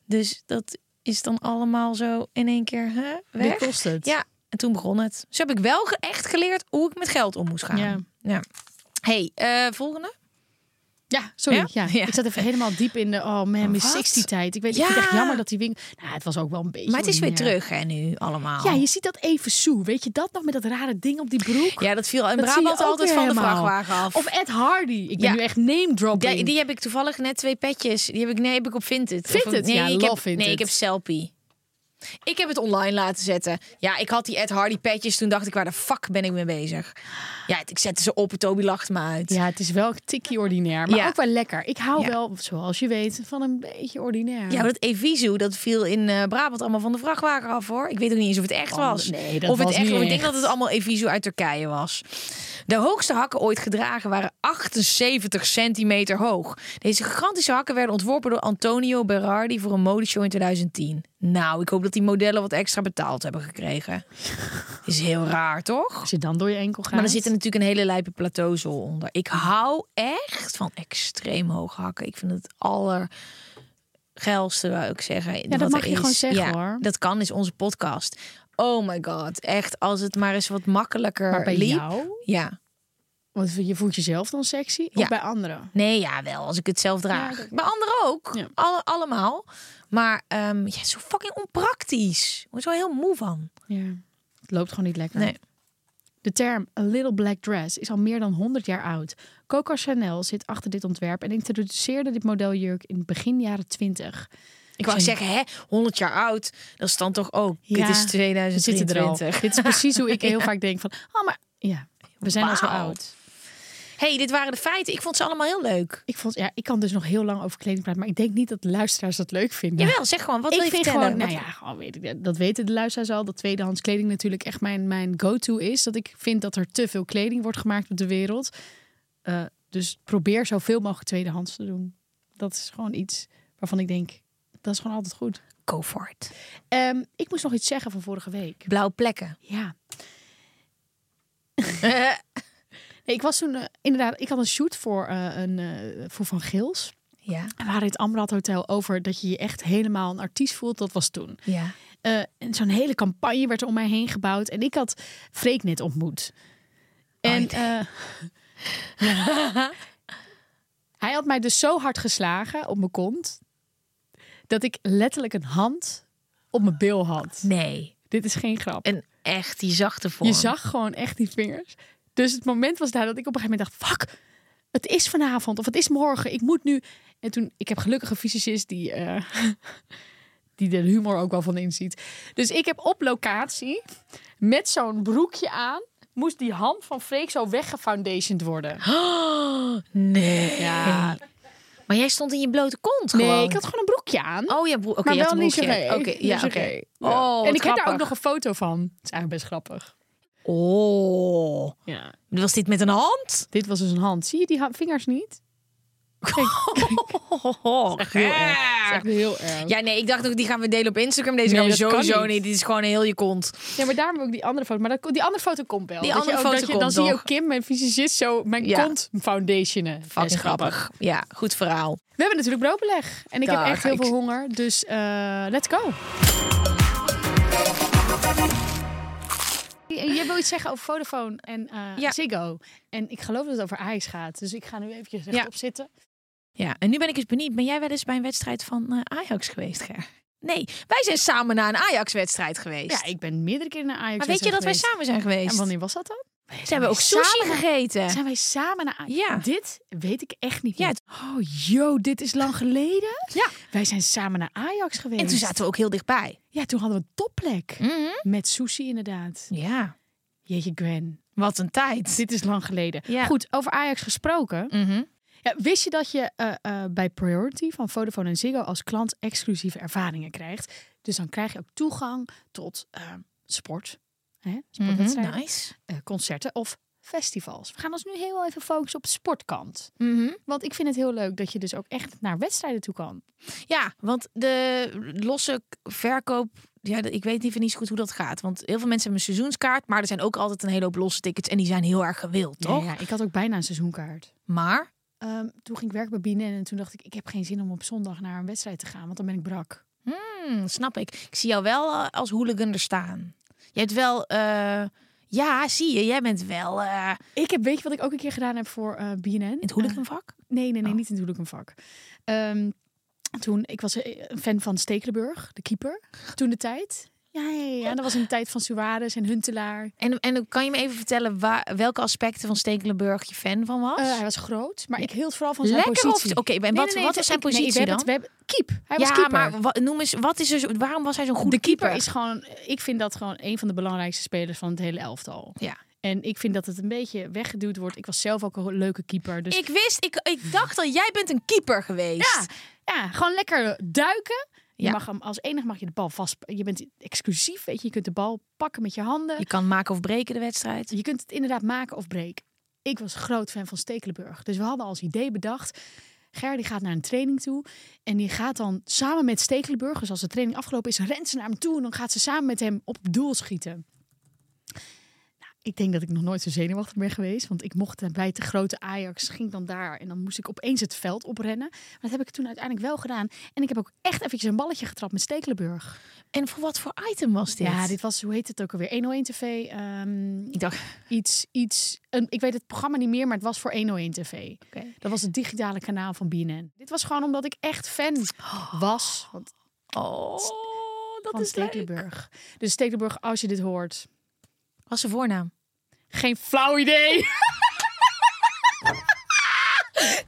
dus dat is dan allemaal zo in één keer hè, weg. Dit kost het. Ja, en toen begon het. Dus heb ik wel ge- echt geleerd hoe ik met geld om moest gaan. Ja. Hey, eh, volgende. Ja, sorry. Ja? Ja? Ja. Ik zat even helemaal diep in de oh man, mijn Wat? 60 tijd. Ik weet ik Ja. vind het echt jammer dat die winkel. Nou, het was ook wel een eh, beetje. Maar het is weer ordinair. terug hè, nu allemaal. Ja, je ziet dat even zo. Weet je dat nog met dat rare ding op die broek? Ja, dat viel in Dat zie je Brabant ook altijd weer van de helemaal. vrachtwagen af. Of Ed Hardy. Ik ben Ja. nu echt name dropping. die, die heb ik toevallig net twee petjes. Die heb ik, nee, heb ik op Vinted. Vinted? Of op- nee, Ja, ik love heb, Vinted. Nee, ik heb Selfie. Ik heb het online laten zetten. Ja, ik had die Ed Hardy petjes. Toen dacht ik, waar de fuck ben ik mee bezig? Ja, ik zette ze op. Toby lachte me uit. Ja, het is wel een tikkie ordinair, maar Ja. ook wel lekker. Ik hou Ja. wel, zoals je weet, van een beetje ordinair. Ja, maar dat Evisu, dat viel in eh, Brabant allemaal van de vrachtwagen af, hoor. Ik weet ook niet eens of het echt Oh, was. nee, dat of het was echt, niet Ik denk echt. dat het allemaal Evisu uit Turkije was. De hoogste hakken ooit gedragen waren 78 centimeter hoog. Deze gigantische hakken werden ontworpen door Antonio Berardi voor een modeshow in 2010. Nou, ik hoop dat die modellen wat extra betaald hebben gekregen. Is heel raar, toch? Als je dan door je enkel gaat. Maar er zit natuurlijk een hele lijpe plateauzool onder. Ik hou echt van extreem hoog hakken. Ik vind het allergeilste, wou ik zeggen. Ja, dat mag je gewoon zeggen, hoor. Dat kan, is onze podcast. Oh my god, echt. Als het maar eens wat makkelijker Maar bij liep. jou, Ja. want je voelt jezelf dan sexy, Ja. of bij anderen? Nee, ja, wel. Als ik het zelf draag. dat- Bij anderen ook. Ja. Alle, allemaal. Maar ehm, ja, zo fucking onpraktisch. Ik word er wel heel moe van. Ja. Het loopt gewoon niet lekker. Nee. De term a little black dress is al meer dan 100 jaar oud. Coco Chanel zit achter dit ontwerp en introduceerde dit model jurk in begin jaren 20. Ik wou zeggen, hè, 100 jaar oud. Dat is dan toch ook. Ja, dit is We zitten er al. 2023. Dit is precies hoe ik heel vaak denk van, oh maar ja, we zijn al zo Wauw. oud. hey, dit waren de feiten. Ik vond ze allemaal heel leuk. Ik, vond, ja, ik kan dus nog heel lang over kleding praten, maar ik denk niet dat de luisteraars dat leuk vinden. Jawel, zeg gewoon. Wat ik wil je vind vertellen? gewoon, nou Wat- ja, gewoon weet ik, dat weten de luisteraars al, dat tweedehands kleding natuurlijk echt mijn, mijn go-to is. Dat ik vind dat er te veel kleding wordt gemaakt op de wereld. Eh, dus probeer zoveel mogelijk tweedehands te doen. Dat is gewoon iets waarvan ik denk, dat is gewoon altijd goed. Go for it. Ehm, ik moest nog iets zeggen van vorige week. Blauwe plekken. Ja. Nee, ik was toen eh, inderdaad, ik had een shoot voor, eh, een, eh, voor Van Gils. ja, En we hadden het Amrad Hotel over dat je je echt helemaal een artiest voelt. Dat was toen. ja. Eh, en zo'n hele campagne werd er om mij heen gebouwd. En ik had Freek net ontmoet. En eh, hij had mij dus zo hard geslagen op mijn kont. Dat ik letterlijk een hand op mijn bil had. Nee. Dit is geen grap. En echt die zachte vorm. Je zag gewoon echt die vingers. Dus het moment was daar dat ik op een gegeven moment dacht: fuck, het is vanavond of het is morgen. Ik moet nu. En toen, ik heb gelukkig een fysicist die. eh, die er humor ook wel van inziet. Dus ik heb op locatie met zo'n broekje aan. Moest die hand van Freek zo weggefoundationed worden? Nee. Ja. Maar jij stond in je blote kont Nee, gewoon. ik had gewoon een broekje aan. Oh, ja, broek. Oké, maar je had wel een niet broekje. Oké, ja, oké. en ik Oh, heb grappig. daar ook nog een foto van. Het is eigenlijk best grappig. Oh. Ja. Was dit met een hand? Dit was dus een hand. Zie je die ha- vingers niet? Oh, heel Dat is echt heel erg. Ja, nee, ik dacht ook, die gaan we delen op Instagram. Deze eh, Nee, gaan we dat kan sowieso niet. niet. Dit is gewoon heel je kont. Ja, maar daarom ook die andere foto. Maar dat, die andere foto komt wel. Die Dat je andere ook- foto dat je, komt Dan zie je nog. ook Kim, mijn fysicist, zo mijn Ja. kont foundationen. Fucking Best grappig. Ja, goed verhaal. We hebben natuurlijk broodbeleg. En ik Daar heb echt ga heel ik- veel honger. Dus eh, let's go. En Jij wil iets zeggen over Vodafone en eh, Ja. Ziggo. En ik geloof dat het over Ajax gaat. Dus ik ga nu eventjes Ja. op zitten. Ja, en nu ben ik eens benieuwd. Ben jij wel eens bij een wedstrijd van eh, Ajax geweest, Ger? Nee, wij zijn samen naar een Ajax-wedstrijd geweest. Ja, ik ben meerdere keren naar Ajax maar weet je dat wij samen zijn geweest? En wanneer was dat dan? Ze hebben ook Zijn wij sushi samen- gegeten. Zijn wij samen naar Ajax? Ja. Dit weet ik echt niet Ja, meer. Oh, yo, dit is lang geleden. Ja. Wij zijn samen Mhm. naar Ajax geweest. En toen zaten Hm? we ook heel dichtbij. Ja, toen hadden we een topplek. Met sushi inderdaad. Ja, Jeetje, Gwen. wat een tijd. Dit is lang geleden. Ja. Goed, over Ajax gesproken. Mhm. Ja, wist je dat je eh, eh, bij Priority van Vodafone en Ziggo als klant exclusieve ervaringen krijgt? Dus dan krijg je ook toegang tot eh, sport, Mhm, hè? sportwedstrijden, Nice. eh, concerten of festivals. We gaan ons nu heel even focussen op de sportkant. Mhm. Want ik vind het heel leuk dat je dus ook echt naar wedstrijden toe kan. Ja, want de losse k- verkoop. Ja, d- ik weet even niet zo goed hoe dat gaat. Want heel veel mensen hebben een seizoenskaart. Maar er zijn ook altijd een hele hoop losse tickets. En die zijn heel erg gewild, toch? Ja, ja, ik had ook bijna een seizoenkaart. Maar, Ehm, toen ging ik werken bij BNN en toen dacht ik, ik heb geen zin om op zondag naar een wedstrijd te gaan, want dan ben ik brak. hmm, snap ik. Ik zie jou wel eh, als hooligan er staan. Je hebt wel... eh, ja, zie je. Jij bent wel eh, Ik heb, weet je wat ik ook een keer gedaan heb voor eh, BNN? in het hooliganvak. Nee, nee, nee, Oh. niet in het hooliganvak. Ehm toen, ik was eh, een fan van Stekelenburg, de keeper, toen de tijd. Ja, ja, ja, ja. Dat was in de tijd van Suarez en Huntelaar. En, en kan je me even vertellen waar, welke aspecten van Stekelenburg je fan van was? Eh, hij was groot, maar ik hield vooral van zijn Lekker positie. of... Oké, en wat, Nee, nee, nee, wat het- was zijn ik- nee, we positie hebben het- dan? we hebben, keep. Hij was ja, keeper. maar wa- noem eens, wat is er, zo- waarom was hij zo'n goede de keeper is gewoon, ik vind dat gewoon een van de belangrijkste spelers van het hele elftal. Ja. En ik vind dat het een beetje weggeduwd wordt. Ik was zelf ook een leuke keeper. Dus Ik wist, ik, ik dacht al, jij bent een keeper geweest. ja, ja, gewoon lekker duiken. Je Ja. mag hem als enig mag je de bal vast. Je bent exclusief, weet je. Je kunt de bal pakken met je handen. Je kan maken of breken de wedstrijd. Je kunt het inderdaad maken of breken. Ik was groot fan van Stekelenburg. Dus we hadden als idee bedacht. Ger die gaat naar een training toe. En die gaat dan samen met Stekelenburg. Dus als de training afgelopen is, rent ze naar hem toe. En dan gaat ze samen met hem op het doel schieten. Nou, ik denk dat ik nog nooit zo zenuwachtig ben geweest. Want ik mocht bij de grote Ajax. Ging ik dan daar. En dan moest ik opeens het veld oprennen. Maar dat heb ik toen uiteindelijk wel gedaan. En ik heb ook echt eventjes een balletje getrapt met Stekelenburg. En voor wat voor item was dit? Ja, dit was, hoe heet het ook alweer? 101 TV. ehm, Ik dacht, iets, iets. Een, ik weet het programma niet meer, maar het was voor 101 TV. Oké. Dat was het digitale kanaal van BNN. Dit was gewoon omdat ik echt fan was want, oh, dat van is leuk. Stekelenburg. Dus Stekelenburg, als je dit hoort, Wat is zijn voornaam? geen flauw idee.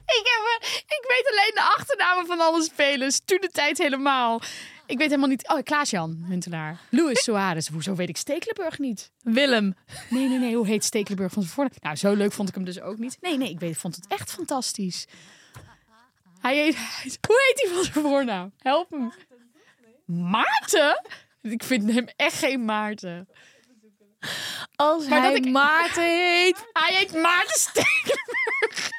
ik, heb, eh, ik weet alleen de achternamen van alle spelers. Toen de tijd helemaal. Ik weet helemaal niet. Oh, Klaas-Jan Huntelaar. Luis Suarez. Hoezo weet ik Stekelenburg niet? Willem. Nee, nee, nee. Hoe heet Stekelenburg van zijn voornaam? Nou, zo leuk vond ik hem dus ook niet. Nee, nee, ik weet, vond het echt fantastisch. Hij heet, hij heet- hoe heet hij van zijn voornaam? Help hem. Maarten? Ik vind hem echt geen Maarten. Als Maar hij dat ik- Maarten heet. Hij heet Maarten Stekelenburg.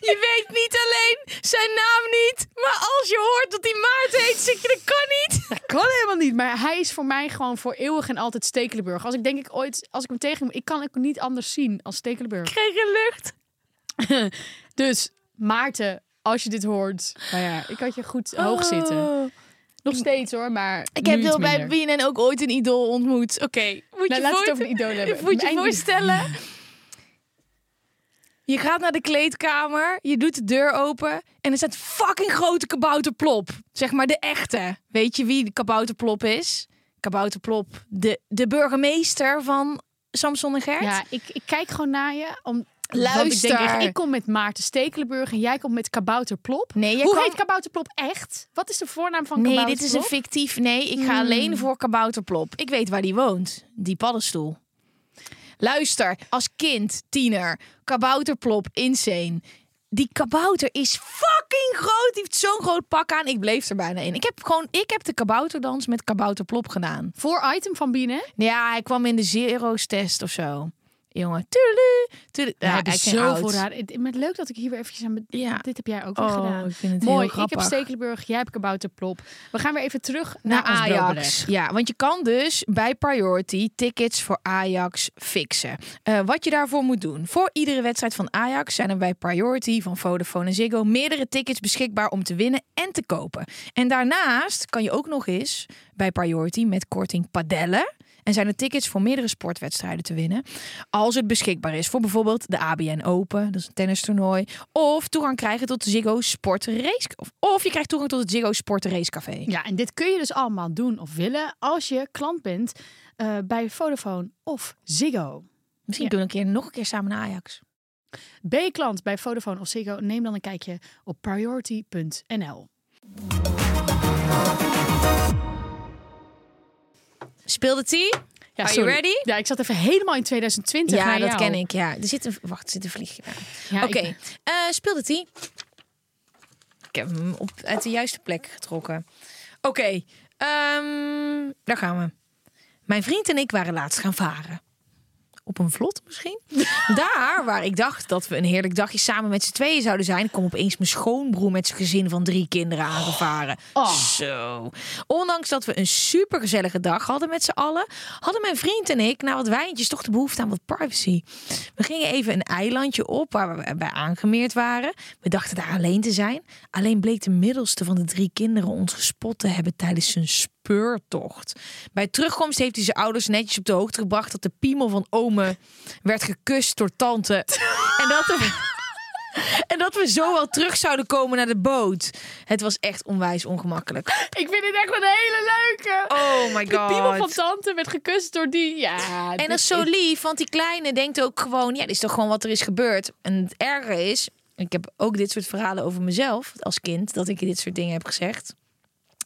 Je weet niet alleen zijn naam niet. Maar als je hoort dat hij Maarten heet, zeg je, dat kan niet. Dat kan helemaal niet, maar hij is voor mij gewoon voor eeuwig en altijd Stekelenburg. Als ik denk ik ooit, als ik hem tegenkom, ik kan hem niet anders zien als Stekelenburg. Kreeg een lucht. Dus Maarten, als je dit hoort, nou ja, ik had je goed hoog zitten. Oh. Nog steeds hoor, maar Ik nu heb iets wel bij minder. BNN ook ooit een idool ontmoet. Oké, moet Nou, laten je we het voor- over een idool hebben. Moet je Mijn- voorstellen. Je gaat naar de kleedkamer, je doet de deur open en er staat fucking grote kabouterplop. Zeg maar de echte. Weet je wie de kabouterplop is? Kabouterplop, de, de burgemeester van Samson en Gert. Ja, ik, ik kijk gewoon naar je. Om, Want ik, denk echt, Luister. ik kom met Maarten Stekelenburg en jij komt met Kabouter Plop. Nee, jij Hoe kan- heet Kabouter Plop echt? Wat is de voornaam van Nee, Kabouter dit is een Plop? fictief. Nee, ik ga alleen voor kabouterplop. Ik weet waar die woont. Die paddenstoel. Luister, als kind, tiener, kabouterplop, insane. Die kabouter is fucking groot. Die heeft zo'n groot pak aan. Ik bleef er bijna in. Ik heb gewoon, ik heb de kabouterdans met kabouterplop gedaan. Voor item van binnen. Ja, hij kwam in de zero's test of zo. Jongen, tuurlu, tuurlu. Ja, ik ben oud. raar. Het- Maar leuk dat ik hier weer eventjes aan... be- Ja. Dit heb jij ook weer Oh, gedaan. ik vind het heel Mooi, ik grappig. heb Stekelenburg, jij hebt Kabouter Plop. We gaan weer even terug naar naar, ons Ajax. broodbeleg. Ja, want je kan dus bij Priority tickets voor Ajax fixen. Eh, wat je daarvoor moet doen. Voor iedere wedstrijd van Ajax zijn er bij Priority van Vodafone en Ziggo meerdere tickets beschikbaar om te winnen en te kopen. En daarnaast kan je ook nog eens bij Priority met korting padellen. En zijn er tickets voor meerdere sportwedstrijden te winnen. Als het beschikbaar is voor bijvoorbeeld de ABN Open, dat is een tennistoernooi. Of toegang krijgen tot de Ziggo Sport Race. Of, of je krijgt toegang tot het Ziggo Sport Race Café. Ja, en dit kun je dus allemaal doen of willen als je klant bent eh, bij Vodafone of Ziggo. Misschien Ja. doen we een keer nog een keer samen naar Ajax. Ben je klant bij Vodafone of Ziggo? Neem dan een kijkje op priority.nl. Speelde die? Ja, Are you sorry. ready? Ja, ik zat even helemaal in 2020 Ja, naar dat jou. ken ik. Ja, er zit een wacht, er zit een vliegje. bij. Ja, Oké, ik- eh, speelde die? Ik heb hem op, uit de juiste plek getrokken. Oké, ehm, daar gaan we. Mijn vriend en ik waren laatst gaan varen. Op een vlot misschien? Daar waar ik dacht dat we een heerlijk dagje samen met z'n tweeën zouden zijn, kwam opeens mijn schoonbroer met zijn gezin van drie kinderen aangevaren. Zo. Ondanks dat we een supergezellige dag hadden met z'n allen, hadden mijn vriend en ik na wat wijntjes toch de behoefte aan wat privacy. We gingen even een eilandje op waar we bij aangemeerd waren. We dachten daar alleen te zijn. Alleen bleek de middelste van de drie kinderen ons gespot te hebben tijdens zijn speurtocht. Bij terugkomst heeft hij zijn ouders netjes op de hoogte gebracht dat de piemel van ome werd gekust door tante. en dat er. En dat we zo wel terug zouden komen naar de boot. Het was echt onwijs ongemakkelijk. Ik vind dit echt wel een hele leuke. Oh my god. De piemel van tante werd gekust door die. Ja, En dat is zo lief, want die kleine denkt ook gewoon... ja, dit is toch gewoon wat er is gebeurd. En het erge is, ik heb ook dit soort verhalen over mezelf als kind... dat ik dit soort dingen heb gezegd.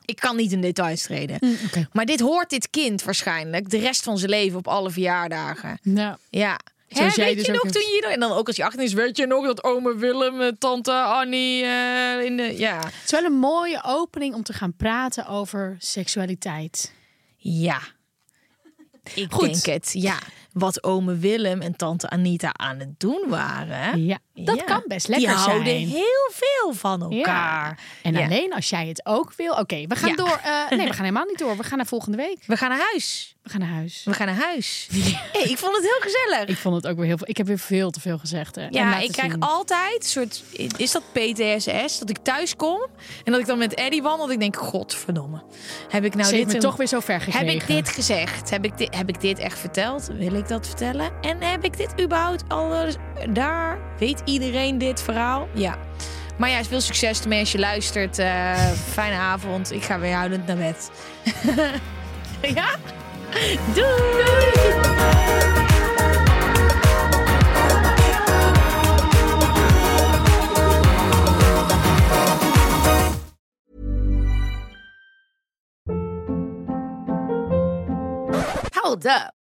Ik kan niet in details treden. Mm, Maar dit hoort dit kind waarschijnlijk de rest van zijn leven op alle verjaardagen. Nou, Ja. Hè, Zoals jij weet dus je ook nog hebt. toen je... En dan ook als je 18 is, weet je nog dat ome Willem, eh, tante Annie... eh, in de, ja. het is wel een mooie opening om te gaan praten over seksualiteit. Ja. Ik denk het, ja. Wat ome Willem en tante Anita aan het doen waren. Ja, dat Ja. kan best lekker Die zijn. houden heel veel van elkaar. En Ja. alleen als jij het ook wil. Oké, we gaan Ja. door. eh, nee, we gaan helemaal niet door. We gaan naar volgende week. We gaan naar huis. We gaan naar huis. We gaan naar huis. Hey, ik vond het heel gezellig. Ik vond het ook weer heel veel. Ik heb weer veel te veel gezegd. Hè, om ja, laten ik krijg zien. altijd een soort... Is dat PTSS? Dat ik thuis kom en dat ik dan met Eddie wandel. Dat ik denk, godverdomme. Heb ik nou Ze heeft dit me een- toch weer zo ver gekregen. Heb ik dit gezegd? Heb ik dit, heb ik dit echt verteld? Wil ik dat vertellen? En heb ik dit überhaupt alles daar? Weet iedereen dit verhaal? Ja. Maar ja, veel succes ermee als je luistert. Eh, fijne avond. Ik ga weer huilend naar bed. ja? Doei! Hold up.